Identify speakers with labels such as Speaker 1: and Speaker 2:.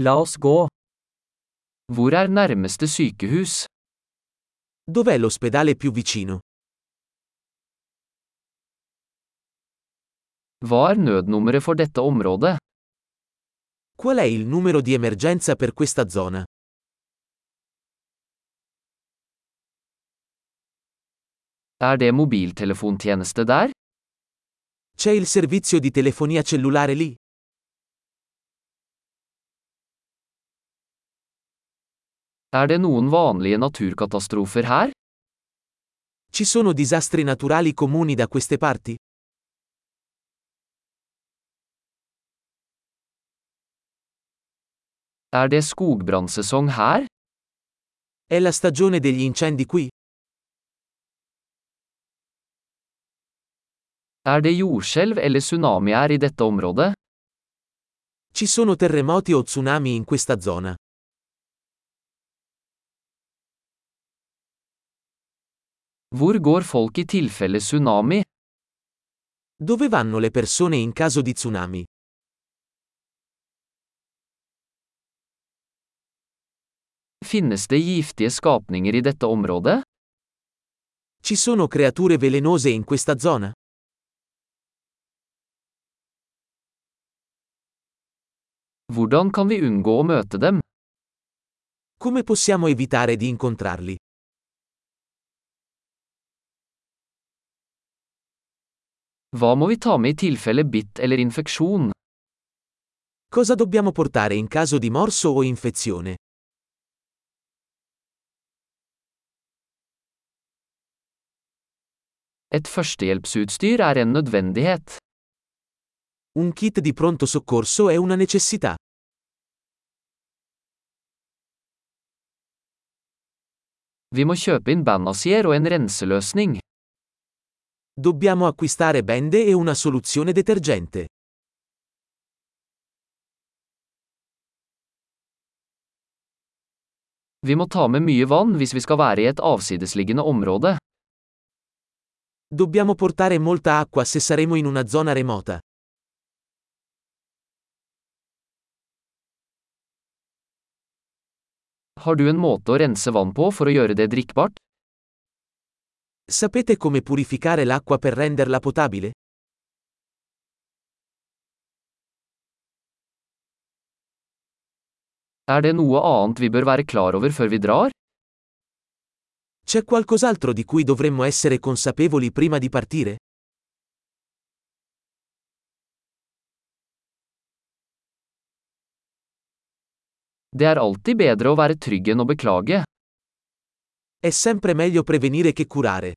Speaker 1: La oss gå. Hvor er nærmeste sykehus?
Speaker 2: Dov'è l'ospedale più vicino?
Speaker 1: Hva er nødnummeret for dette området?
Speaker 2: Qual è il numero di emergenza per questa zona?
Speaker 1: Er det mobiltelefontjeneste der?
Speaker 2: C'è il servizio di telefonia cellulare lì?
Speaker 1: Er det noen vanlige naturkatastrofer her?
Speaker 2: Ci sono disastri naturali comuni da queste parti?
Speaker 1: Er det skogbrannsesong her?
Speaker 2: È la stagione degli incendi qui?
Speaker 1: Er det jordskjelv eller tsunami her i dette området?
Speaker 2: Ci sono terremoti o tsunami in questa zona?
Speaker 1: Hvor går folk i tilfelle tsunami?
Speaker 2: Dove vanno le persone in caso di tsunami?
Speaker 1: Finnes det giftige skapninger i dette området?
Speaker 2: Ci sono creature velenose in questa zona?
Speaker 1: Hvordan kan vi unngå å møte dem?
Speaker 2: Come possiamo evitare di incontrarli?
Speaker 1: Hva må vi ta med i tilfelle bitt eller infeksjon?
Speaker 2: Cosa dobbiamo portare in caso di morso o infezione?
Speaker 1: Et førstehjelpsutstyr er en nødvendighet.
Speaker 2: Un kit di pronto soccorso è una necessità.
Speaker 1: Vi må kjøpe inn bandasier og en renseløsning.
Speaker 2: Dobbiamo acquistare bende e una soluzione detergente.
Speaker 1: Vi må ta med mye vann hvis vi skal være i et avsidesliggende område.
Speaker 2: Dobbiamo portare molta acqua se saremo in una zona remota.
Speaker 1: Har du en måte å rense vann på for å gjøre det drikkbart?
Speaker 2: Sapete come purificare l'acqua per renderla potabile?
Speaker 1: Er det noe annet vi bør være klar over før vi drar?
Speaker 2: C'è qualcos'altro di cui dovremmo essere consapevoli prima di partire?
Speaker 1: Det er alltid bedre å være trygg enn å beklage.
Speaker 2: È sempre meglio prevenire che curare.